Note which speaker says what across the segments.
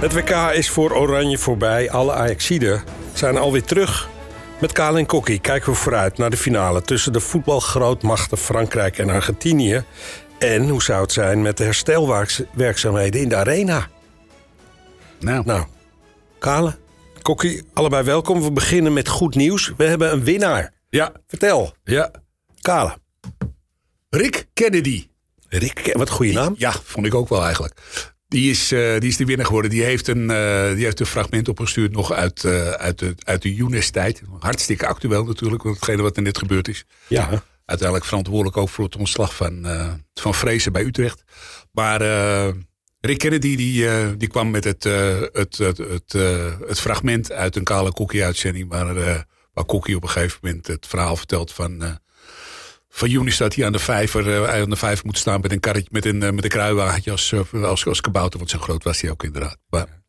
Speaker 1: Het WK is voor Oranje voorbij. Alle Ajaxiden zijn alweer terug. Met Kaal en Kokkie kijken we vooruit naar de finale... tussen de voetbalgrootmachten Frankrijk en Argentinië. En hoe zou het zijn met de herstelwerkzaamheden in de arena?
Speaker 2: Nou,
Speaker 1: Nou, Kale, Kokkie, allebei welkom. We beginnen met goed nieuws. We hebben een winnaar.
Speaker 2: ja,
Speaker 1: Vertel,
Speaker 2: ja.
Speaker 1: Kale.
Speaker 2: Rick Kennedy.
Speaker 1: Rick, wat een goede naam.
Speaker 2: Ja, vond ik ook wel eigenlijk. Die is, eh, die is de winnaar geworden. Die heeft een, eh, die heeft een fragment opgestuurd nog uit, eh, uit de, uit de Younes-tijd. Hartstikke actueel natuurlijk, want hetgene wat er net gebeurd is.
Speaker 1: Ja,
Speaker 2: Uiteindelijk verantwoordelijk ook voor het ontslag van, eh van Vrezen bij Utrecht. Maar eh, Rick Kennedy die, eh, die kwam met het, eh, het, het, het, eh, het fragment uit een kale Kokkie-uitzending... Waar, eh waar Kokkie op een gegeven moment het verhaal vertelt van... eh, van juni staat hij aan de vijver, eh, aan de vijver moet staan met een karretje, met een, eh, met een kruiwagentje als, eh, als, als kabouter. Want zo groot was hij ook inderdaad. Maar,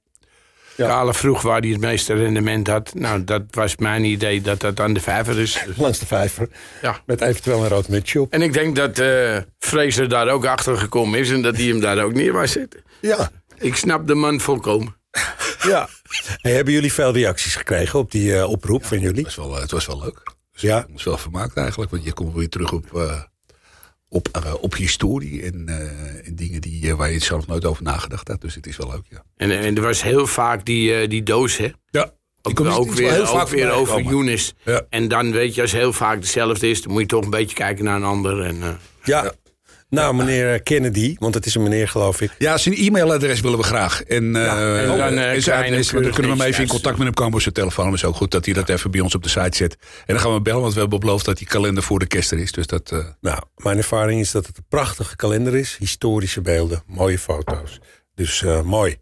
Speaker 1: Ja.
Speaker 3: Kale vroeg waar hij het meeste rendement had. Nou, dat was mijn idee dat dat aan de vijver is. Dus,
Speaker 1: langs de vijver.
Speaker 3: ja.
Speaker 1: Met eventueel een rood mutsje op.
Speaker 3: En ik denk dat eh Fraser daar ook achter gekomen is en dat hij hem daar ook neer was zitten.
Speaker 1: Ja,
Speaker 3: Ik snap de man volkomen.
Speaker 1: ja. Hey, hebben jullie veel reacties gekregen op die eh, oproep van jullie?
Speaker 2: het, was wel, eh, het was wel leuk. Dus
Speaker 1: Ja.
Speaker 2: we hebben ons wel vermaakt eigenlijk. Want je komt weer terug op, eh, op, eh, op historie en, eh, en dingen die, eh, waar je zelf nooit over nagedacht had. Dus het is wel leuk, ja.
Speaker 3: En, eh, en er was heel vaak die, eh, die doos, hè?
Speaker 2: Ja,
Speaker 3: Ook, ook weer, ook weer over Younes.
Speaker 2: Ja.
Speaker 3: En dan weet je, als heel vaak hetzelfde is, dan moet je toch een beetje kijken naar een ander. En, eh,
Speaker 1: Ja. Nou, meneer Kennedy, want het is een meneer, geloof ik.
Speaker 2: Ja, zijn e-mailadres willen we graag. En, eh
Speaker 3: en dan, eh,
Speaker 2: en
Speaker 3: kleine
Speaker 2: zijn adres, dan kunnen we hem even in
Speaker 3: kleurtjes.
Speaker 2: contact met hem komen op zijn telefoon. Maar is ook goed dat hij dat even bij ons op de site zet. En dan gaan we hem bellen, want we hebben beloofd dat die kalender voor de kerst er is. Dus dat, eh,
Speaker 1: Nou, mijn ervaring is dat het een prachtige kalender is. Historische beelden, mooie foto's. Dus eh, mooi.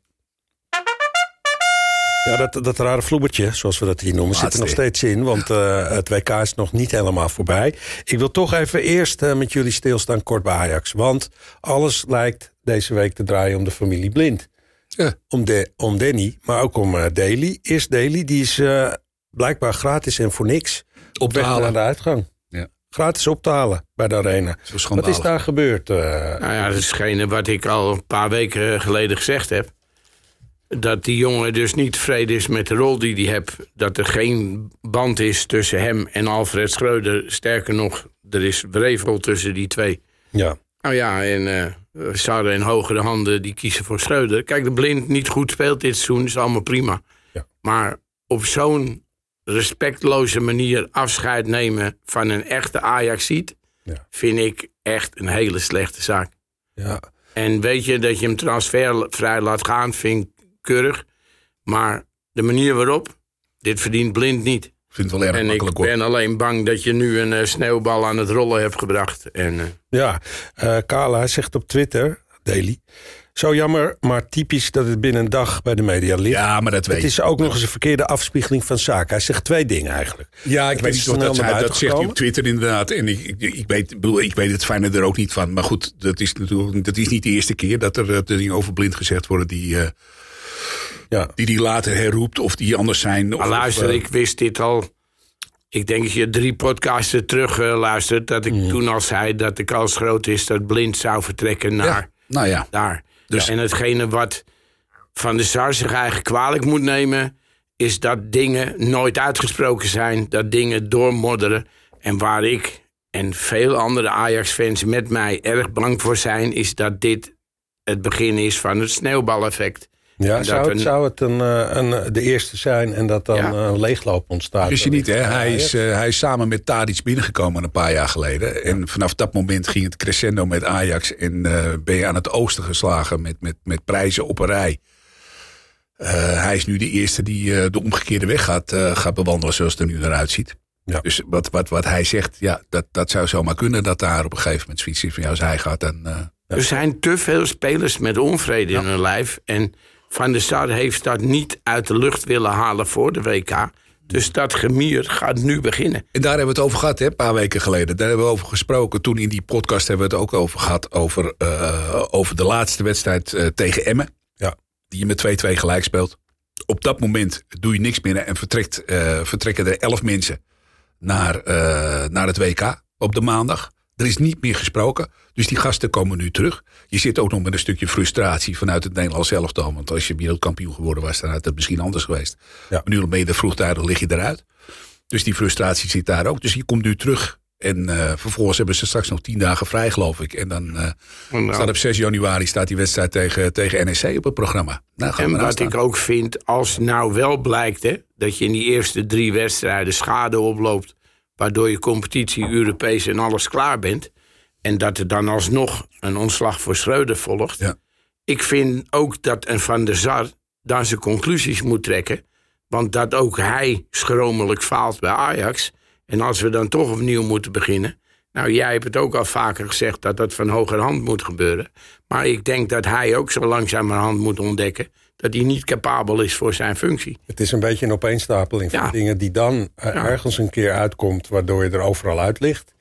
Speaker 1: Ja, dat, dat rare vloebertje, zoals we dat hier noemen, zit er nog
Speaker 2: Laatste.
Speaker 1: steeds in. Want eh, het WK is nog niet helemaal voorbij. Ik wil toch even eerst eh, met jullie stilstaan kort bij Ajax. Want alles lijkt deze week te draaien om de familie Blind.
Speaker 2: Ja.
Speaker 1: Om, de, om Danny, maar ook om eh Daly. Eerst Daly, die is eh, blijkbaar gratis en voor niks
Speaker 2: op te
Speaker 1: weg naar
Speaker 2: halen.
Speaker 1: de uitgang.
Speaker 2: Ja.
Speaker 1: Gratis op te halen bij de arena.
Speaker 2: Dat is
Speaker 1: Wat
Speaker 2: schandalig.
Speaker 1: is daar gebeurd? eh?
Speaker 3: Nou ja, dat is hetgene wat ik al een paar weken geleden gezegd heb. Dat die jongen dus niet tevreden is met de rol die hij heeft. Dat er geen band is tussen hem en Alfred Schreuder. Sterker nog, er is wrevel tussen die twee.
Speaker 1: ja.
Speaker 3: Nou ja, en eh Sarre en Hogere Handen die kiezen voor Schreuder. Kijk, de blind niet goed speelt dit seizoen, is allemaal prima.
Speaker 1: Ja.
Speaker 3: Maar op zo'n respectloze manier afscheid nemen van een echte Ajaxiet...
Speaker 1: Ja.
Speaker 3: vind ik echt een hele slechte zaak.
Speaker 1: ja.
Speaker 3: En weet je dat je hem transfervrij laat gaan, vind ik keurig. Maar de manier waarop, dit verdient blind niet.
Speaker 2: Ik vind het wel erg
Speaker 3: en ik
Speaker 2: makkelijk hoor.
Speaker 3: ben alleen bang dat je nu een eh, sneeuwbal aan het rollen hebt gebracht. En, eh,
Speaker 1: ja. Eh, Kala zegt op Twitter, Daily. Zo jammer, maar typisch dat het binnen een dag bij de media ligt.
Speaker 2: Ja, maar dat weet
Speaker 1: Het is
Speaker 2: je.
Speaker 1: ook nog eens een verkeerde afspiegeling van zaken. Hij zegt twee dingen eigenlijk.
Speaker 2: Ja, ik
Speaker 1: Het
Speaker 2: weet
Speaker 1: is
Speaker 2: niet of
Speaker 1: snel
Speaker 2: dat,
Speaker 1: naar
Speaker 2: hij- dat
Speaker 1: buiten
Speaker 2: zegt hij op
Speaker 1: gekomen.
Speaker 2: Twitter inderdaad. En ik, ik, ik weet, ik bedoel, ik weet het fijne er ook niet van. Maar goed, dat is natuurlijk dat is niet de eerste keer dat er eh, dingen over blind gezegd worden die eh,
Speaker 1: Ja.
Speaker 2: die, die later herroept of die anders zijn. Of,
Speaker 3: maar luister,
Speaker 2: of, eh,
Speaker 3: ik wist dit al. Ik denk dat je drie podcasten terug eh, luistert. Dat ik toen al zei dat de kans groot is dat blind zou vertrekken naar...
Speaker 2: ja, nou ja.
Speaker 3: daar.
Speaker 2: Dus-
Speaker 3: En hetgene wat Van de Sar zich eigenlijk kwalijk moet nemen... is dat dingen nooit uitgesproken zijn, dat dingen doormodderen. En waar ik en veel andere Ajax-fans met mij erg bang voor zijn... is dat dit het begin is van het sneeuwbaleffect.
Speaker 1: Ja,
Speaker 3: dat
Speaker 1: zou het,
Speaker 3: een-
Speaker 1: zou het een, eh, een, de eerste zijn en dat dan eh,
Speaker 3: Ja.
Speaker 1: een leegloop ontstaat?
Speaker 2: Wist je niet, hè? Hij is,
Speaker 1: Ja,
Speaker 2: eh, hij is samen met Tadic binnengekomen een paar jaar geleden. En vanaf dat moment ging het crescendo met Ajax. En eh, ben je aan het oosten geslagen met, met, met prijzen op een rij. Eh, hij is nu de eerste die eh, de omgekeerde weg gaat, eh, gaat bewandelen zoals het er nu naar uitziet.
Speaker 1: Ja.
Speaker 2: Dus wat, wat, wat hij zegt, ja, dat, dat zou zomaar kunnen dat daar op een gegeven moment zoiets is van ja, als hij gaat dan... eh,
Speaker 3: Er zijn te veel spelers met onvrede in hun lijf. En Van der Sar heeft dat niet uit de lucht willen halen voor de WK. Dus dat gemier gaat nu beginnen.
Speaker 2: En daar hebben we het over gehad, hè, een paar weken geleden. Daar hebben we over gesproken. Toen in die podcast hebben we het ook over gehad. Over, eh, over de laatste wedstrijd eh, tegen Emmen.
Speaker 1: Ja.
Speaker 2: Die je met 2-2 gelijk speelt. Op dat moment doe je niks meer en vertrekt, eh, vertrekken er 11 mensen naar, eh, naar het WK op de maandag. Er is niet meer gesproken. Dus die gasten komen nu terug. Je zit ook nog met een stukje frustratie vanuit het Nederlands elftal. Want als je wereldkampioen geworden was, dan had het misschien anders geweest.
Speaker 1: Ja.
Speaker 2: Maar nu al ben je er vroegtijdig, lig je eruit. Dus die frustratie zit daar ook. Dus je komt nu terug. En eh, vervolgens hebben ze straks nog tien dagen vrij, geloof ik. En dan eh,
Speaker 3: Nou,
Speaker 2: staat op 6 januari staat die wedstrijd tegen, tegen NEC op het programma. Nou, gaan we
Speaker 3: en
Speaker 2: eraan
Speaker 3: wat
Speaker 2: staan.
Speaker 3: ik ook vind, als nou wel blijkt hè, dat je in die eerste drie wedstrijden schade oploopt, waardoor je competitie Europees en alles klaar bent, en dat er dan alsnog een ontslag voor Schreuder volgt.
Speaker 2: Ja.
Speaker 3: Ik vind ook dat een Van der Sar daar zijn conclusies moet trekken, want dat ook hij schromelijk faalt bij Ajax. En als we dan toch opnieuw moeten beginnen. Nou, jij hebt het ook al vaker gezegd dat dat van hogerhand moet gebeuren. Maar ik denk dat hij ook zo langzamerhand moet ontdekken dat hij niet capabel is voor zijn functie.
Speaker 1: Het is een beetje een opeenstapeling van
Speaker 3: Ja.
Speaker 1: dingen die dan eh,
Speaker 3: Ja.
Speaker 1: ergens een keer uitkomt, waardoor je er overal uit ligt.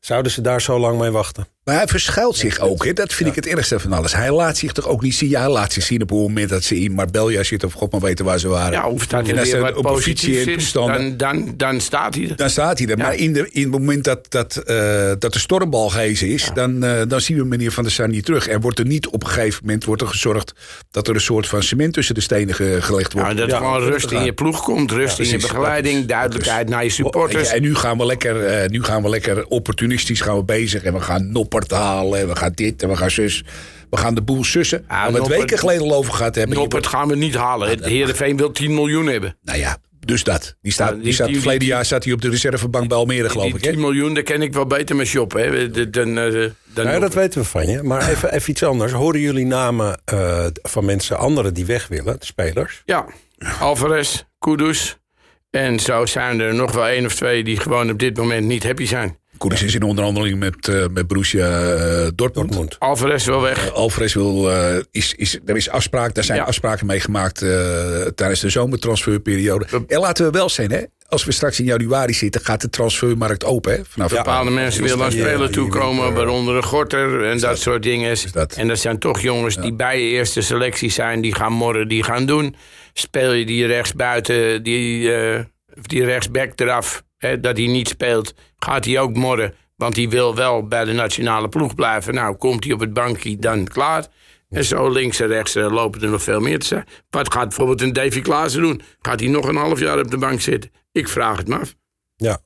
Speaker 1: Zouden ze daar zo lang mee wachten?
Speaker 2: Maar hij verschuilt zich ook. Hè? Dat vind ik het ergste van alles. Hij laat zich toch ook niet zien. Ja, hij laat zich zien op het moment dat ze in Marbella zitten. Of god maar weten waar ze waren.
Speaker 3: Ja, of dat
Speaker 2: En
Speaker 3: er
Speaker 2: als
Speaker 3: weer
Speaker 2: er
Speaker 3: wat
Speaker 2: op positie
Speaker 3: positiefs
Speaker 2: in
Speaker 3: is,
Speaker 2: toestanden-
Speaker 3: dan, dan, dan staat hij er.
Speaker 2: Dan staat hij er. Maar in, de, in het moment dat, dat, eh, dat de stormbal gehezen is, dan, eh, dan zien we meneer Van der Sar niet terug. Er wordt er niet op een gegeven moment wordt er gezorgd dat er een soort van cement tussen de stenen ge- gelegd wordt.
Speaker 3: Nou, dat
Speaker 2: Ja,
Speaker 3: gewoon
Speaker 2: dat
Speaker 3: rust in je ploeg komt, rust in je
Speaker 2: precies, dat
Speaker 3: begeleiding,
Speaker 2: is- dat
Speaker 3: duidelijkheid naar je supporters.
Speaker 2: Ja, en nu gaan, we lekker, eh, nu gaan we lekker opportunistisch gaan we bezig. En we gaan Noppert halen. En we gaan dit en we gaan zus. We gaan de boel sussen.
Speaker 3: Ah,
Speaker 2: waar we het
Speaker 3: Noppert-
Speaker 2: weken geleden al over gehad hebben.
Speaker 3: Noppert gaan we niet halen. Het Heerenveen wil 10 miljoen hebben.
Speaker 2: Nou ja, dus dat. Die staat,
Speaker 3: Ja,
Speaker 2: die,
Speaker 3: die-
Speaker 2: staat,
Speaker 3: die- die-
Speaker 2: verleden jaar zat hij op de reservebank bij Almere, geloof
Speaker 3: Die
Speaker 2: ik. hè?
Speaker 3: 10 miljoen, daar ken ik wel beter mee shoppen. Hè. Dan, dan, eh, dan
Speaker 1: Nou, ja, dat weten we van je. Maar even, even iets anders. Horen jullie namen eh, van mensen, anderen die weg willen, spelers?
Speaker 3: Ja, Alvarez, Kudus. En zo zijn er nog wel één of twee die gewoon op dit moment niet happy zijn.
Speaker 2: Koeders is in onderhandeling met, eh met Borussia eh, Dortmund.
Speaker 1: Dortmund.
Speaker 3: Alvarez wil weg.
Speaker 2: Alvarez wil, eh, is, is, er is afspraak, daar zijn
Speaker 3: Ja.
Speaker 2: afspraken mee gemaakt eh, tijdens de zomertransferperiode. En laten we wel zijn, hè? als we straks in januari zitten, gaat de transfermarkt open. Hè? Vanaf een paar-
Speaker 3: Bepaalde mensen willen aan
Speaker 1: die, eh,
Speaker 3: spelers
Speaker 1: die
Speaker 3: toekomen,
Speaker 1: moeten,
Speaker 3: waaronder een Gorter en dat soort dingen.
Speaker 2: dat.
Speaker 3: En dat zijn toch jongens die bij je eerste selectie zijn, die gaan morren, die gaan doen. Speel je die rechtsbuiten, die, eh of die rechtsback eraf, hè, dat hij niet speelt, gaat hij ook morren. Want die wil wel bij de nationale ploeg blijven. Nou, komt hij op het bankje, dan klaar. En zo links en rechts eh, lopen er nog veel meer te zijn. Wat gaat bijvoorbeeld een Davy Klaassen doen? Gaat hij nog een half jaar op de bank zitten? Ik vraag het me af.
Speaker 1: Ja.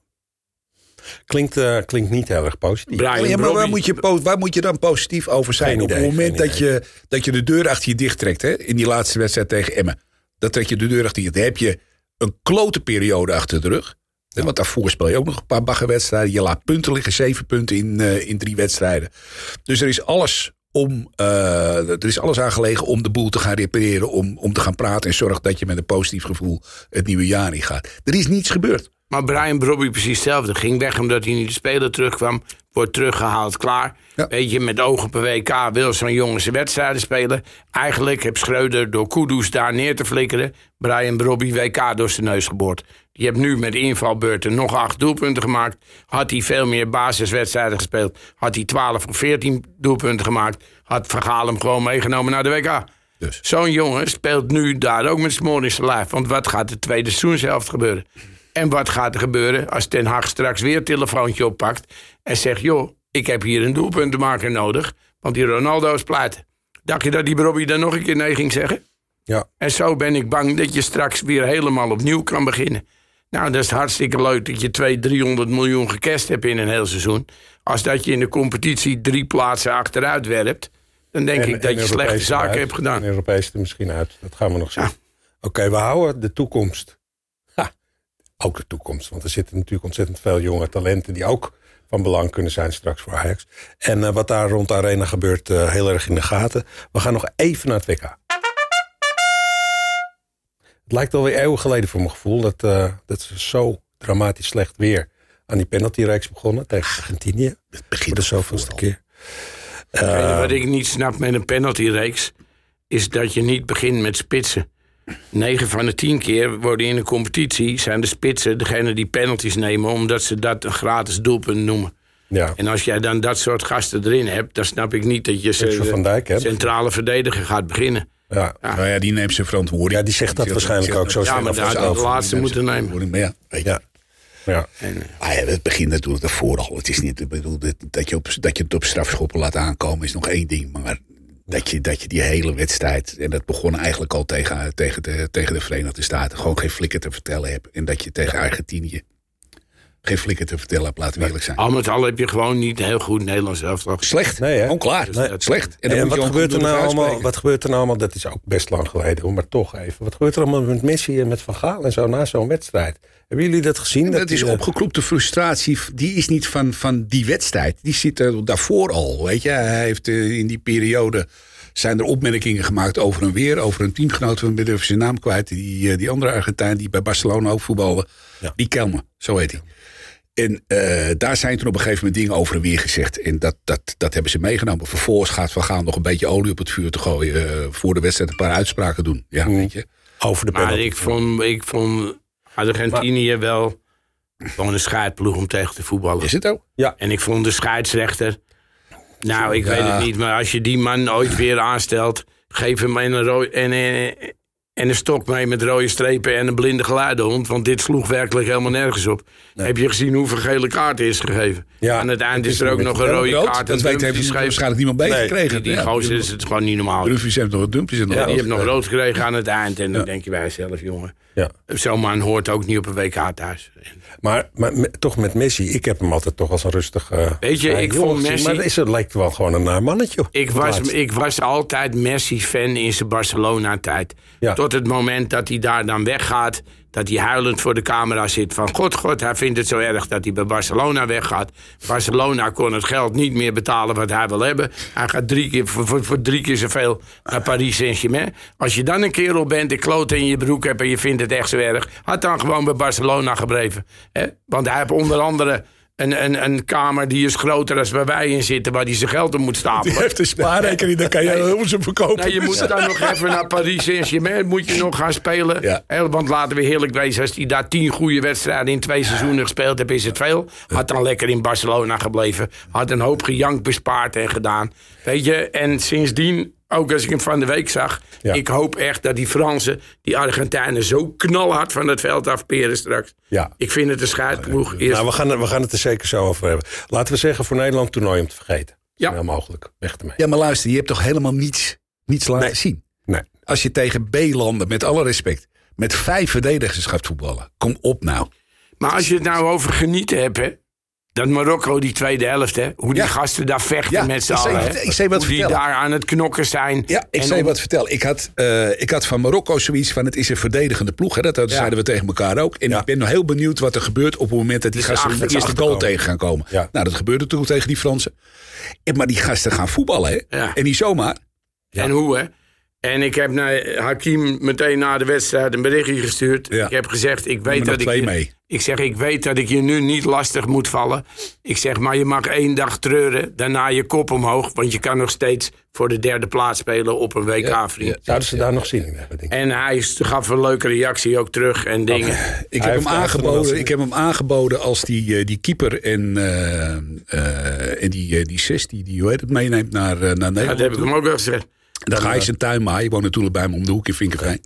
Speaker 1: Klinkt, eh, klinkt niet heel erg positief.
Speaker 3: Brian
Speaker 2: Oh Ja, maar waar
Speaker 3: Brobby.
Speaker 2: moet, je, po- waar moet je dan positief over zijn?
Speaker 1: Geen
Speaker 2: Op het
Speaker 1: idee,
Speaker 2: moment
Speaker 1: geen
Speaker 2: dat je, dat je de deur achter je dicht trekt, hè, in die laatste wedstrijd tegen Emmen. Dan trek je de deur achter je Dan heb je een klote periode achter de rug. Hè, Want daarvoor speel je ook nog een paar baggerwedstrijden. Je laat punten liggen, zeven punten in, eh, in drie wedstrijden. Dus er is alles om, eh, er is alles aangelegen om de boel te gaan repareren, om, om te gaan praten en zorg dat je met een positief gevoel het nieuwe jaar ingaat. Er is niets gebeurd.
Speaker 3: Maar Brian Brobby precies hetzelfde. Ging weg omdat hij niet te spelen terugkwam. Wordt teruggehaald, klaar.
Speaker 2: Ja.
Speaker 3: Weet je, met ogen per WK wil zo'n jongen zijn wedstrijden spelen. Eigenlijk heb Schreuder door Kudus daar neer te flikkeren... Brian Brobby WK door zijn neus geboord. Die hebt nu met invalbeurten nog acht doelpunten gemaakt. Had hij veel meer basiswedstrijden gespeeld... had hij 12 of 14 doelpunten gemaakt... had Vergaal hem gewoon meegenomen naar de WK.
Speaker 2: Dus.
Speaker 3: Zo'n jongen speelt nu daar ook met smoor in zijn lijf. Want wat gaat de tweede seizoenshelft gebeuren? En wat gaat er gebeuren als Ten Hag straks weer het telefoontje oppakt... en zegt, joh, ik heb hier een doelpuntenmaker nodig... want die Ronaldo is plaat. Dacht je dat die Robbie dan nog een keer nee ging zeggen?
Speaker 1: Ja.
Speaker 3: En zo ben ik bang dat je straks weer helemaal opnieuw kan beginnen. Nou, dat is hartstikke leuk dat je 200, 300 miljoen gecast hebt in een heel seizoen. Als dat je in de competitie drie plaatsen achteruit werpt... dan denk ik dat je slechte
Speaker 1: Europees
Speaker 3: zaken
Speaker 1: eruit.
Speaker 3: hebt gedaan.
Speaker 1: En Europees er misschien uit. Dat gaan we nog zien.
Speaker 3: Ja.
Speaker 1: Oké, we houden de toekomst. Ha, ook de toekomst. Want er zitten natuurlijk ontzettend veel jonge talenten... die ook van belang kunnen zijn straks voor Ajax. En eh, wat daar rond de arena gebeurt, eh, heel erg in de gaten. We gaan nog even naar het WK. Het lijkt alweer eeuwen geleden voor mijn gevoel... dat, eh, dat ze zo dramatisch slecht weer aan die penaltyreeks begonnen... tegen Argentinië.
Speaker 2: Het
Speaker 1: Voor
Speaker 2: begint
Speaker 1: de zoveelste keer.
Speaker 3: Weet
Speaker 1: Ehm.
Speaker 3: je Eh, wat ik niet snap met een penaltyreeks... is dat je niet begint met spitsen. 9 van de 10 keer worden in een competitie... zijn de spitsen degene die penalties nemen... omdat ze dat een gratis doelpunt noemen.
Speaker 1: Ja.
Speaker 3: En als jij dan dat soort gasten erin hebt... dan snap ik niet dat je
Speaker 1: Virgil van
Speaker 3: ze
Speaker 1: Dijk, hè?
Speaker 3: centrale verdediger gaat beginnen.
Speaker 1: Ja.
Speaker 2: Nou ja, die neemt zijn verantwoording.
Speaker 1: Ja, die zegt dat waarschijnlijk ook zo.
Speaker 3: Ja,
Speaker 1: snel
Speaker 3: maar daar
Speaker 1: voor
Speaker 3: had ik de
Speaker 1: zichzelf.
Speaker 3: laatste moeten nemen.
Speaker 2: Maar ja, weet je.
Speaker 1: Ja. Ja.
Speaker 3: En, eh,
Speaker 2: Ah ja, het begint natuurlijk daarvoor al. Het is niet, ik bedoel, dat, dat je op, dat je het op strafschoppen laat aankomen is nog één ding. Maar dat je, dat je die hele wedstrijd, en dat begon eigenlijk al tegen, tegen, de, tegen de Verenigde Staten, gewoon geen flikker te vertellen hebt. En dat je tegen Argentinië geen flikker te vertellen hebt, laten we eerlijk zijn.
Speaker 3: al met al heb je gewoon niet een heel goed Nederlands elftal.
Speaker 2: Slecht,
Speaker 1: Nee, hè?
Speaker 2: gewoon
Speaker 3: Ah.
Speaker 2: klaar.
Speaker 1: Nee.
Speaker 2: Slecht.
Speaker 1: En,
Speaker 2: dan moet je
Speaker 1: wat,
Speaker 2: ook
Speaker 1: gebeurt er
Speaker 2: goed
Speaker 1: nou
Speaker 2: durven
Speaker 1: allemaal,
Speaker 2: uitspreken.
Speaker 1: wat gebeurt er nou allemaal? Dat is ook best lang geleden, hoor, maar toch even. Wat gebeurt er allemaal met Messi en met Van Gaal en zo na zo'n wedstrijd? Hebben jullie dat gezien?
Speaker 2: Dat is
Speaker 1: die, eh,
Speaker 2: opgekropte frustratie. Die is niet van, van die wedstrijd. Die zit er daarvoor al. Weet je, hij heeft eh, in die periode. Zijn er opmerkingen gemaakt over en weer, over een teamgenoot van met even zijn naam kwijt. Die, eh, die andere Argentijn die bij Barcelona ook voetbalde.
Speaker 1: Ja.
Speaker 2: Die Kelme, zo heet hij. En eh, daar zijn toen op een gegeven moment dingen over en weer gezegd. En dat, dat, dat hebben ze meegenomen. Vervolgens gaat Van Gaal nog een beetje olie op het vuur te gooien. eh, voor de wedstrijd een paar uitspraken doen. Ja,
Speaker 1: Mhm.
Speaker 2: weet je.
Speaker 1: Over de
Speaker 3: Maar
Speaker 1: penalty.
Speaker 3: ik vond, ik vond Argentinië wel gewoon een scheidploeg om tegen te voetballen.
Speaker 2: Is het ook?
Speaker 3: En ik vond de scheidsrechter. Nou, ik
Speaker 2: Ja.
Speaker 3: weet het niet, maar als je die man ooit weer aanstelt. geef hem en een, rooi- en, en, en een stok mee met rode strepen en een blinde geluidenhond. Want dit sloeg werkelijk helemaal nergens op. Heb je gezien hoeveel gele kaarten is gegeven?
Speaker 1: Ja.
Speaker 3: Aan het eind is er ook
Speaker 1: met
Speaker 3: nog een
Speaker 1: een
Speaker 3: rode
Speaker 2: Rood?
Speaker 3: kaart.
Speaker 2: dat
Speaker 3: en
Speaker 2: weet
Speaker 3: Dumfries
Speaker 2: heeft
Speaker 3: geeft-
Speaker 2: waarschijnlijk niemand meegekregen.
Speaker 3: Die
Speaker 2: Ja.
Speaker 3: gozer is het gewoon niet normaal.
Speaker 2: Rufus heeft nog wat dumpjes in de
Speaker 3: Die
Speaker 2: hand.
Speaker 3: heeft nog rood gekregen aan het eind. En dan denk je bij jezelf, jongen.
Speaker 1: Ja.
Speaker 3: Zo'n man hoort ook niet op een WK thuis.
Speaker 1: Maar, maar me- toch met Messi, ik heb hem altijd toch als een rustig... eh,
Speaker 3: Weet je,
Speaker 1: vrij
Speaker 3: ik
Speaker 1: jongen
Speaker 3: vond
Speaker 1: gezien.
Speaker 3: Messi-
Speaker 1: Maar dat is, het lijkt wel gewoon een naar mannetje. op
Speaker 3: Ik
Speaker 1: het
Speaker 3: was,
Speaker 1: laatst.
Speaker 3: ik was altijd Messi-fan in zijn Barcelona-tijd.
Speaker 1: Ja.
Speaker 3: Tot het moment dat hij daar dan weggaat. Dat hij huilend voor de camera zit. Van god, god, hij vindt het zo erg dat hij bij Barcelona weggaat. Barcelona kon het geld niet meer betalen wat hij wil hebben. Hij gaat drie keer, voor, voor, voor drie keer zoveel naar Paris Saint-Germain. Als je dan een kerel bent en kloten in je broek hebt en je vindt het echt zo erg. Had dan gewoon bij Barcelona gebleven. Hè? Want hij heeft onder andere... Een, een, een kamer die is groter dan waar wij in zitten, waar hij zijn geld op moet stapelen.
Speaker 2: heeft een spaarrekening, daar kan je heel ze verkopen.
Speaker 3: Nou, je moet dan nog even naar Paris Saint-Germain. Moet je nog gaan spelen.
Speaker 2: Ja.
Speaker 3: Hè, Want laten we heerlijk wezen. Als hij daar tien goede wedstrijden in twee seizoenen gespeeld heeft, is het veel. Had dan lekker in Barcelona gebleven. Had een hoop gejank bespaard en gedaan. Weet je, en sindsdien... Ook als ik hem van de week zag.
Speaker 1: Ja.
Speaker 3: Ik hoop echt dat die Fransen, die Argentijnen zo knalhard van het veld afperen straks.
Speaker 1: Ja.
Speaker 3: Ik vind het een scheidploeg. Eerst
Speaker 1: Nou, we gaan, er- we gaan het er zeker zo over hebben. Laten we zeggen, voor Nederland toernooi om te vergeten.
Speaker 3: Ja.
Speaker 1: Zo snel mogelijk. Weg ermee.
Speaker 2: Ja, maar luister, je hebt toch helemaal niets, niets laten
Speaker 1: Nee.
Speaker 2: zien?
Speaker 1: Nee.
Speaker 2: Als je tegen B-landen, met alle respect, met vijf verdedigers gaat voetballen. Kom op nou.
Speaker 3: Maar als je het nou over genieten hebt, hè? Dat Marokko, die tweede helft, hè? Hoe die
Speaker 2: Ja.
Speaker 3: gasten daar vechten
Speaker 2: Ja,
Speaker 3: met z'n
Speaker 2: ik zei-
Speaker 3: allen. hè?
Speaker 2: ik zei wat
Speaker 3: Hoe die
Speaker 2: vertellen.
Speaker 3: daar aan het knokken zijn.
Speaker 2: Ja, ik
Speaker 3: En
Speaker 2: zal je
Speaker 3: om-
Speaker 2: wat vertellen. Ik had, eh, ik had van Marokko zoiets van, het is een verdedigende ploeg. Hè? Dat dat zeiden we tegen elkaar ook. En ik ben nog heel benieuwd wat er gebeurt op het moment dat die
Speaker 3: Dus
Speaker 2: gasten
Speaker 3: achter-
Speaker 2: met de eerste
Speaker 3: achter
Speaker 2: goal
Speaker 3: komen.
Speaker 2: tegen gaan komen.
Speaker 1: Ja.
Speaker 2: Nou, dat gebeurde toen tegen die Fransen. En, maar die gasten gaan voetballen, hè?
Speaker 3: Ja.
Speaker 2: En niet zomaar.
Speaker 3: En hoe, hè? En ik heb naar Hakim meteen na de wedstrijd een berichtje gestuurd.
Speaker 2: Ja.
Speaker 3: Ik heb gezegd, ik
Speaker 2: Neem
Speaker 3: weet
Speaker 2: er nog
Speaker 3: dat ik...
Speaker 2: twee
Speaker 3: je-
Speaker 2: mee.
Speaker 3: Ik zeg, ik weet dat ik je nu niet lastig moet vallen. Ik zeg, maar je mag één dag treuren, daarna je kop omhoog. Want je kan nog steeds voor de derde plaats spelen op een WK,
Speaker 2: Ja,
Speaker 3: vriend.
Speaker 1: Zouden ze daar nog zin in hebben, denk ik.
Speaker 3: En hij gaf een leuke reactie ook terug en dingen.
Speaker 2: Ik
Speaker 1: Hij
Speaker 2: heb,
Speaker 1: heeft
Speaker 2: hem
Speaker 1: echt wel zin
Speaker 2: aangeboden,
Speaker 1: in.
Speaker 2: ik heb hem aangeboden als die, eh, die keeper en, eh, eh, en die, eh, die zes die, die hoe heet het, meeneemt naar, eh, naar
Speaker 3: Dat
Speaker 2: Nederland.
Speaker 3: heb ik hem ook al gezegd.
Speaker 2: Dan ga ik zijn tuin maaien. Ik woon natuurlijk bij hem om de hoek in Vinkenveen.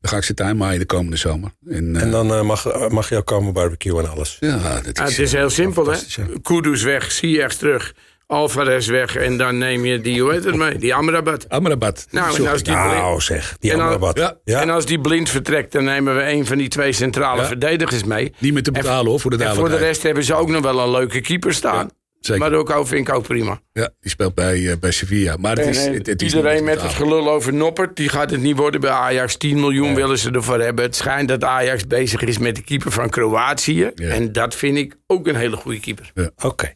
Speaker 2: Dan ga ik zijn tuin maaien de komende zomer. En, eh,
Speaker 1: En dan eh, mag, mag je ook komen barbecue en alles.
Speaker 2: ja, dat
Speaker 3: Ja,
Speaker 2: is, eh,
Speaker 3: het is heel simpel, hè?
Speaker 1: fantastisch, ja.
Speaker 3: Kudus weg, Ziyech terug, Alvarez weg... en dan neem je die, hoe heet het mee, die Amrabat.
Speaker 2: Amrabat.
Speaker 3: Nou, en als die, blind,
Speaker 1: Nou zeg, die
Speaker 3: En dan-
Speaker 1: andere wat.
Speaker 2: ja,
Speaker 1: Ja.
Speaker 3: en als die blind vertrekt... dan nemen we een van die twee centrale verdedigers mee.
Speaker 2: Niet meer te
Speaker 3: En-
Speaker 2: betalen hoor, voor de
Speaker 3: En voor de
Speaker 2: duidelijkheid.
Speaker 3: rest hebben ze ook nog wel een leuke keeper staan.
Speaker 2: zeker.
Speaker 3: Maar ook vind ik ook prima.
Speaker 2: Ja, die speelt bij, eh, bij Sevilla. Maar het
Speaker 3: En,
Speaker 2: is,
Speaker 3: eh,
Speaker 2: het, het is
Speaker 3: iedereen
Speaker 2: niet meer
Speaker 3: met
Speaker 2: te
Speaker 3: het
Speaker 2: betalen.
Speaker 3: gelul over Noppert, die gaat het niet worden bij Ajax. 10 miljoen willen ze ervoor hebben. Het schijnt dat Ajax bezig is met de keeper van Kroatië.
Speaker 2: Ja.
Speaker 3: En dat vind ik ook een hele goede keeper.
Speaker 1: Oké.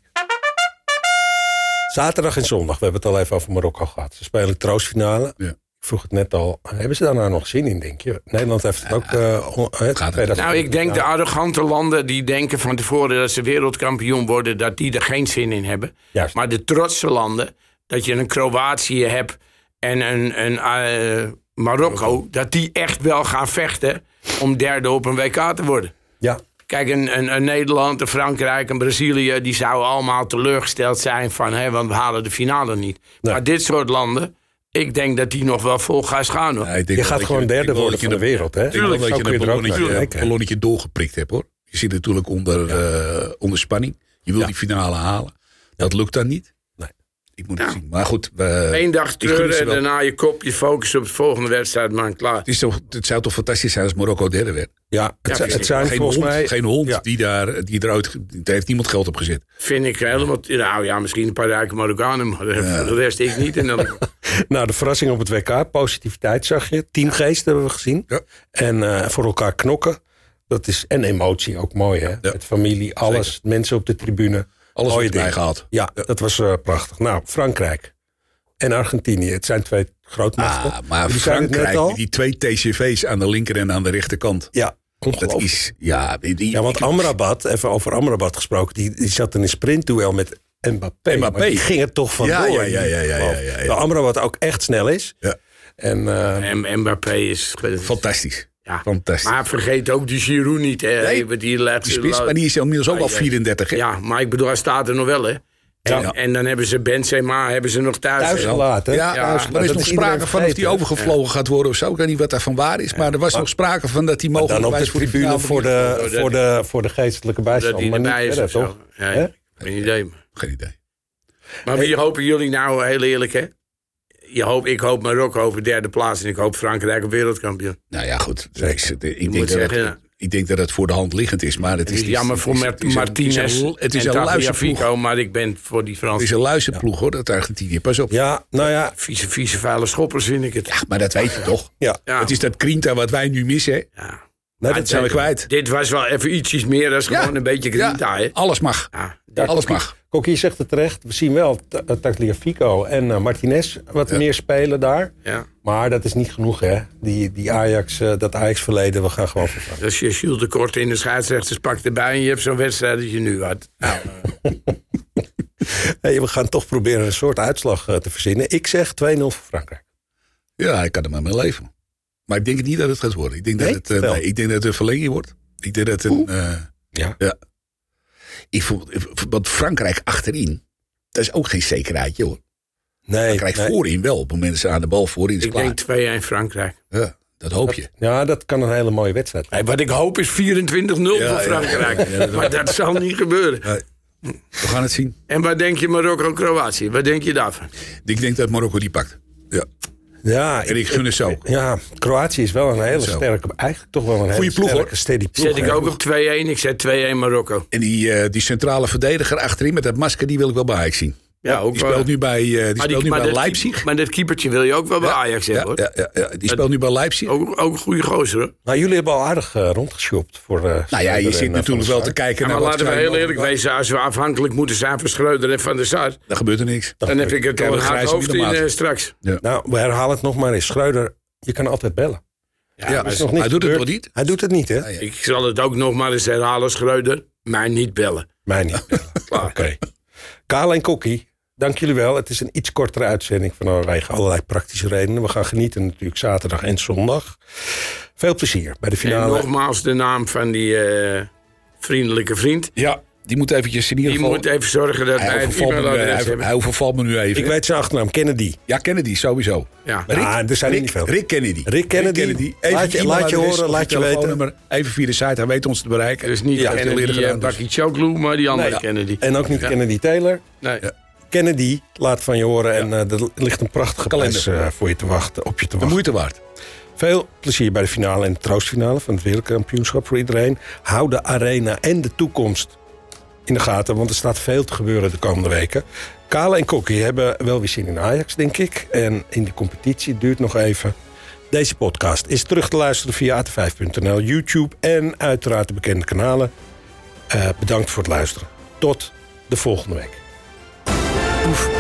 Speaker 1: Zaterdag en zondag, we hebben het al even over Marokko gehad. Ze spelen troostfinale.
Speaker 2: Ja.
Speaker 1: Ik vroeg het net al, hebben ze daar nou nog zin in, denk je? Nederland heeft het ook... eh, on- het
Speaker 2: Gaat het.
Speaker 1: 2000
Speaker 3: Nou, ik denk de arrogante landen die denken van tevoren dat ze wereldkampioen worden, dat die er geen zin in hebben.
Speaker 1: Juist.
Speaker 3: Maar de trotse landen, dat je een Kroatië hebt en een, een eh, Marokko, dat die echt wel gaan vechten om derde op een WK te worden.
Speaker 1: Ja,
Speaker 3: Kijk, een, een, een Nederland, een Frankrijk, een Brazilië... die zouden allemaal teleurgesteld zijn van... Hè, want we halen de finale niet.
Speaker 1: Nee.
Speaker 3: Maar dit soort landen, ik denk dat die nog wel vol gas gaan. Hoor.
Speaker 2: Ja, ik denk wel
Speaker 1: je
Speaker 2: dat
Speaker 1: gaat gewoon
Speaker 2: ik denk
Speaker 1: derde
Speaker 2: wel
Speaker 1: worden
Speaker 2: dat je
Speaker 1: van de
Speaker 2: een-
Speaker 1: wereld, hè?
Speaker 2: Ik denk wel dat
Speaker 1: Zo
Speaker 2: je
Speaker 1: kun
Speaker 2: een
Speaker 1: je er ook naar
Speaker 2: ballonnetje, een
Speaker 1: kijken.
Speaker 2: ballonnetje doorgeprikt hebt hoor. Die Je zit natuurlijk onder, eh, onder spanning. Je wil die finale halen. Dat lukt dan niet.
Speaker 1: Nee.
Speaker 2: Ik moet het zien. Maar goed, we-
Speaker 3: Eén dag
Speaker 2: gun ze
Speaker 3: treuren en
Speaker 2: wel.
Speaker 3: daarna je kop, je focus op de volgende wedstrijd, man, klaar.
Speaker 2: het, is toch, het zou toch fantastisch zijn als Marokko derde werd.
Speaker 1: Ja, het,
Speaker 3: precies.
Speaker 1: het zijn
Speaker 2: geen
Speaker 1: volgens
Speaker 2: hond,
Speaker 1: mij...
Speaker 2: geen hond
Speaker 1: Ja.
Speaker 2: die, daar, die eruit... ge- Daar heeft niemand geld op gezet.
Speaker 3: Vind ik helemaal... Nou ja, misschien een paar rijke Marokkanen, maar voor de rest ik niet. En dan,
Speaker 1: Nou, de verrassing op het WK, positiviteit zag je. Teamgeest hebben we gezien.
Speaker 2: Ja.
Speaker 1: En eh, voor elkaar knokken. Dat is, en emotie ook mooi, hè? Met familie, alles, mensen op de tribune. Mooie
Speaker 2: Alles wordt erbij
Speaker 1: dingen.
Speaker 2: gehaald.
Speaker 1: Ja, dat was eh, prachtig. Nou, Frankrijk en Argentinië. Het zijn twee grootmachten.
Speaker 2: Ah, maar
Speaker 1: Jullie zeiden het net
Speaker 2: Frankrijk,
Speaker 1: al.
Speaker 2: die twee TCV's aan de linker en aan de rechterkant.
Speaker 1: Ja,
Speaker 2: Dat
Speaker 1: ongelooflijk.
Speaker 2: is, ja, die, die-
Speaker 1: Ja, want Amrabat, even over Amrabat gesproken, die, die zat in een sprintduel met Mbappé.
Speaker 2: Mbappé.
Speaker 1: Maar die ging er toch vandoor.
Speaker 2: Ja, ja, ja, ja, ja, ja, ja, ja.
Speaker 1: Nou, Amrabat ook echt snel is.
Speaker 2: Ja.
Speaker 1: En eh,
Speaker 3: en Mbappé is...
Speaker 2: fantastisch.
Speaker 3: Ja.
Speaker 2: Fantastisch.
Speaker 3: Maar vergeet ook die Giroud niet, hè.
Speaker 2: Nee,
Speaker 3: Want die laat-
Speaker 2: die spits, maar die is inmiddels ook al 34. hè?
Speaker 3: Ja, maar ik bedoel, hij staat er nog wel, hè. En,
Speaker 2: Ja.
Speaker 3: en dan hebben ze Benzema hebben ze nog thuis.
Speaker 1: thuis gelaten.
Speaker 2: Ja,
Speaker 1: Thuis gelaten.
Speaker 2: er is
Speaker 1: Dat
Speaker 2: nog
Speaker 1: iedereen
Speaker 2: sprake van of die
Speaker 1: vergeten.
Speaker 2: overgevlogen gaat worden of zo. Ik weet niet wat daarvan waar is. Maar er was nog sprake van dat die mogelijk
Speaker 1: Dan op de tribune voor de, voor de, voor de geestelijke
Speaker 3: dat
Speaker 1: bijstand.
Speaker 3: hij
Speaker 1: Maar niet
Speaker 3: erbij is
Speaker 1: verder,
Speaker 3: of
Speaker 1: toch?
Speaker 3: zo. Ja,
Speaker 1: Hè?
Speaker 3: Geen idee. man.
Speaker 2: Geen idee.
Speaker 3: Maar wie hopen jullie nou, heel eerlijk, hè? Je hoopt, ik hoop Marokko over derde plaats en ik hoop Frankrijk op wereldkampioen.
Speaker 2: Nou ja, goed. Ik, ik,
Speaker 3: moet
Speaker 2: denk dat
Speaker 3: zeggen,
Speaker 2: het,
Speaker 3: ja.
Speaker 2: ik denk dat het voor de hand liggend is. Maar het
Speaker 3: Het
Speaker 2: is,
Speaker 3: is jammer voor
Speaker 2: het is- het is een-
Speaker 3: Martinez
Speaker 2: Het is
Speaker 3: en
Speaker 2: een luisterploeg.
Speaker 3: Tagliafico, maar ik ben voor die
Speaker 2: Het is
Speaker 3: Franse
Speaker 2: een luisterploeg hoor, dat Argentinië. Pas op.
Speaker 1: Ja, nou ja.
Speaker 3: vieze, vieze, vuile schoppers, vind ik het. Ja.
Speaker 2: Maar dat weet je toch?
Speaker 1: ja.
Speaker 3: Ja.
Speaker 2: Het is dat Krinta wat wij nu missen. hè?
Speaker 1: Nee,
Speaker 2: Dat
Speaker 1: dat
Speaker 2: zijn we kwijt.
Speaker 3: Dit was wel even ietsjes meer dan
Speaker 2: Ja.
Speaker 3: gewoon een beetje grinta,
Speaker 2: Ja,
Speaker 3: hè?
Speaker 2: Alles mag.
Speaker 3: Ja,
Speaker 1: Ja,
Speaker 2: Alles
Speaker 1: Kokkie-
Speaker 2: mag.
Speaker 1: Kokkie zegt het terecht. We zien wel Ta- eh, Tagliafico en eh, Martinez wat
Speaker 2: Ja.
Speaker 1: meer spelen daar.
Speaker 3: ja.
Speaker 1: Maar dat is niet genoeg, hè? Die, die Ajax, eh, dat Ajax-verleden, we gaan gewoon vervangen.
Speaker 3: Als je Jules de Kort in de scheidsrechters pakt erbij en je hebt zo'n wedstrijd dat je nu had.
Speaker 1: Hey, we gaan toch proberen een soort uitslag eh, te verzinnen. Ik zeg 2-0 voor Frankrijk.
Speaker 2: Ja, ik kan er maar mee leven. Maar ik denk niet dat het gaat worden. Ik denk,
Speaker 1: Nee?
Speaker 2: dat, het, eh,
Speaker 1: Wel.
Speaker 2: nee, ik denk dat het een verlenging wordt. Ik denk dat het een. eh,
Speaker 1: Ja.
Speaker 2: ja. Ik voel, want Frankrijk achterin, dat is ook geen zekerheidje hoor.
Speaker 1: Nee,
Speaker 2: Frankrijk
Speaker 1: nee.
Speaker 2: voorin wel, op het moment dat ze aan de bal voorin is
Speaker 3: Ik
Speaker 2: klaar.
Speaker 3: denk 2-1 Frankrijk.
Speaker 2: Ja, dat hoop je.
Speaker 1: Ja, dat kan een hele mooie wedstrijd.
Speaker 3: Hey, wat ik hoop is 24-0
Speaker 2: ja,
Speaker 3: voor Frankrijk.
Speaker 2: ja, ja, ja.
Speaker 3: maar dat zal niet gebeuren.
Speaker 2: We gaan het zien.
Speaker 3: En wat denk je Marokko-Kroatië? Wat denk je daarvan?
Speaker 2: Ik denk dat Marokko die pakt. Ja.
Speaker 1: Ja,
Speaker 2: En ik gun het zo.
Speaker 1: ja, Kroatië is wel een hele
Speaker 2: Zo.
Speaker 1: sterke, eigenlijk toch wel een hele
Speaker 2: Goeie ploeg,
Speaker 1: sterke,
Speaker 2: hoor.
Speaker 1: steady ploeg.
Speaker 3: Zet ik
Speaker 1: hè?
Speaker 3: ook op 2-1. Ik zet 2-1 Marokko.
Speaker 2: En die, eh, die centrale verdediger achterin met dat masker, die wil ik wel bij Ajax zien.
Speaker 3: Ja, ook
Speaker 2: Die
Speaker 3: wel.
Speaker 2: speelt nu bij, eh, die
Speaker 3: Maar die-
Speaker 2: speelt nu
Speaker 3: maar
Speaker 2: bij
Speaker 3: dat
Speaker 2: Leipzig.
Speaker 3: keep- Maar dat keepertje wil je ook wel bij Ajax hebben,
Speaker 2: Ja,
Speaker 3: hoor.
Speaker 2: ja, ja, ja. Die speelt nu bij Leipzig.
Speaker 3: Ook, ook een goede gozer, hoor.
Speaker 1: Nou, jullie hebben al aardig eh, rondgeshopt voor. eh,
Speaker 2: Nou ja, je
Speaker 1: Schreuder en,
Speaker 2: zit
Speaker 1: eh,
Speaker 2: natuurlijk
Speaker 1: Van
Speaker 2: wel
Speaker 1: der
Speaker 2: te
Speaker 1: Sar.
Speaker 2: kijken
Speaker 3: Ja,
Speaker 2: naar wat
Speaker 3: maar laten we
Speaker 2: zij
Speaker 3: heel
Speaker 2: mogen
Speaker 3: eerlijk wezen. Als we afhankelijk moeten zijn van Schreuder en van der Sar...
Speaker 2: Daar gebeurt er niks.
Speaker 3: dan heb ik het
Speaker 2: Kijk,
Speaker 3: al een
Speaker 2: we
Speaker 3: hard
Speaker 2: grijzen
Speaker 3: hoofd in
Speaker 2: middelmaat.
Speaker 3: eh, straks.
Speaker 1: Nou, we herhalen het nog maar eens. Schreuder, je kan altijd bellen.
Speaker 3: eh,
Speaker 2: Ja,
Speaker 1: Er is nog niks
Speaker 2: hij doet het nog
Speaker 1: gebeurd.
Speaker 2: niet.
Speaker 1: Hij doet het niet, hè?
Speaker 2: ja.
Speaker 3: Ik zal het ook nog maar eens herhalen, Schreuder. Maar niet bellen.
Speaker 1: Mij niet. bellen. Oké. Kaal en Kokkie, dank jullie wel. Het is een iets kortere uitzending vanwege allerlei praktische redenen. We gaan genieten natuurlijk zaterdag en zondag. Veel plezier bij de
Speaker 3: En
Speaker 1: finale.
Speaker 3: nogmaals de naam van die eh, vriendelijke vriend.
Speaker 2: Ja, die moet eventjes in ieder
Speaker 3: Die
Speaker 2: geval...
Speaker 3: moet even zorgen dat wij
Speaker 2: hij,
Speaker 3: het
Speaker 2: overvalt me, nu- eh,
Speaker 3: e-mailadres
Speaker 2: hij,
Speaker 3: hebben.
Speaker 2: hij overvalt me nu even.
Speaker 1: Ik weet zijn achternaam, Kennedy.
Speaker 2: ja, Kennedy, sowieso.
Speaker 3: Ja.
Speaker 1: Ja, er zijn er
Speaker 2: Rick,
Speaker 1: niet veel.
Speaker 2: Rick Kennedy.
Speaker 1: Rick Kennedy.
Speaker 2: Even
Speaker 1: Laat je-
Speaker 2: e-mailadres
Speaker 1: laat je horen,
Speaker 2: of
Speaker 1: laat je
Speaker 2: telefoonnummer. Even via de site, hij weet ons te bereiken.
Speaker 3: Dus niet
Speaker 2: ja,
Speaker 3: ja,
Speaker 2: heel eerlijk
Speaker 3: Kennedy
Speaker 2: gedaan,
Speaker 3: en
Speaker 2: dus.
Speaker 3: Bakkie Choglu, maar die andere
Speaker 1: Nee.
Speaker 3: Kennedy.
Speaker 1: En ook niet Kennedy Taylor.
Speaker 3: Nee.
Speaker 1: Kennedy, laat van je horen. En eh, er ligt een prachtige
Speaker 2: Kalender.
Speaker 1: kalender voor je te wachten, op je te
Speaker 2: De
Speaker 1: wachten.
Speaker 2: moeite waard.
Speaker 1: Veel plezier bij de finale en de troostfinale van het wereldkampioenschap voor iedereen. Hou de arena en de toekomst in de gaten, want er staat veel te gebeuren de komende weken. Kale en Kokkie hebben wel weer zin in Ajax, denk ik. En in de competitie het duurt nog even. Deze podcast is terug te luisteren via at5.nl, YouTube en uiteraard de bekende kanalen. Eh, bedankt voor het luisteren. Tot de volgende week.
Speaker 4: Oef,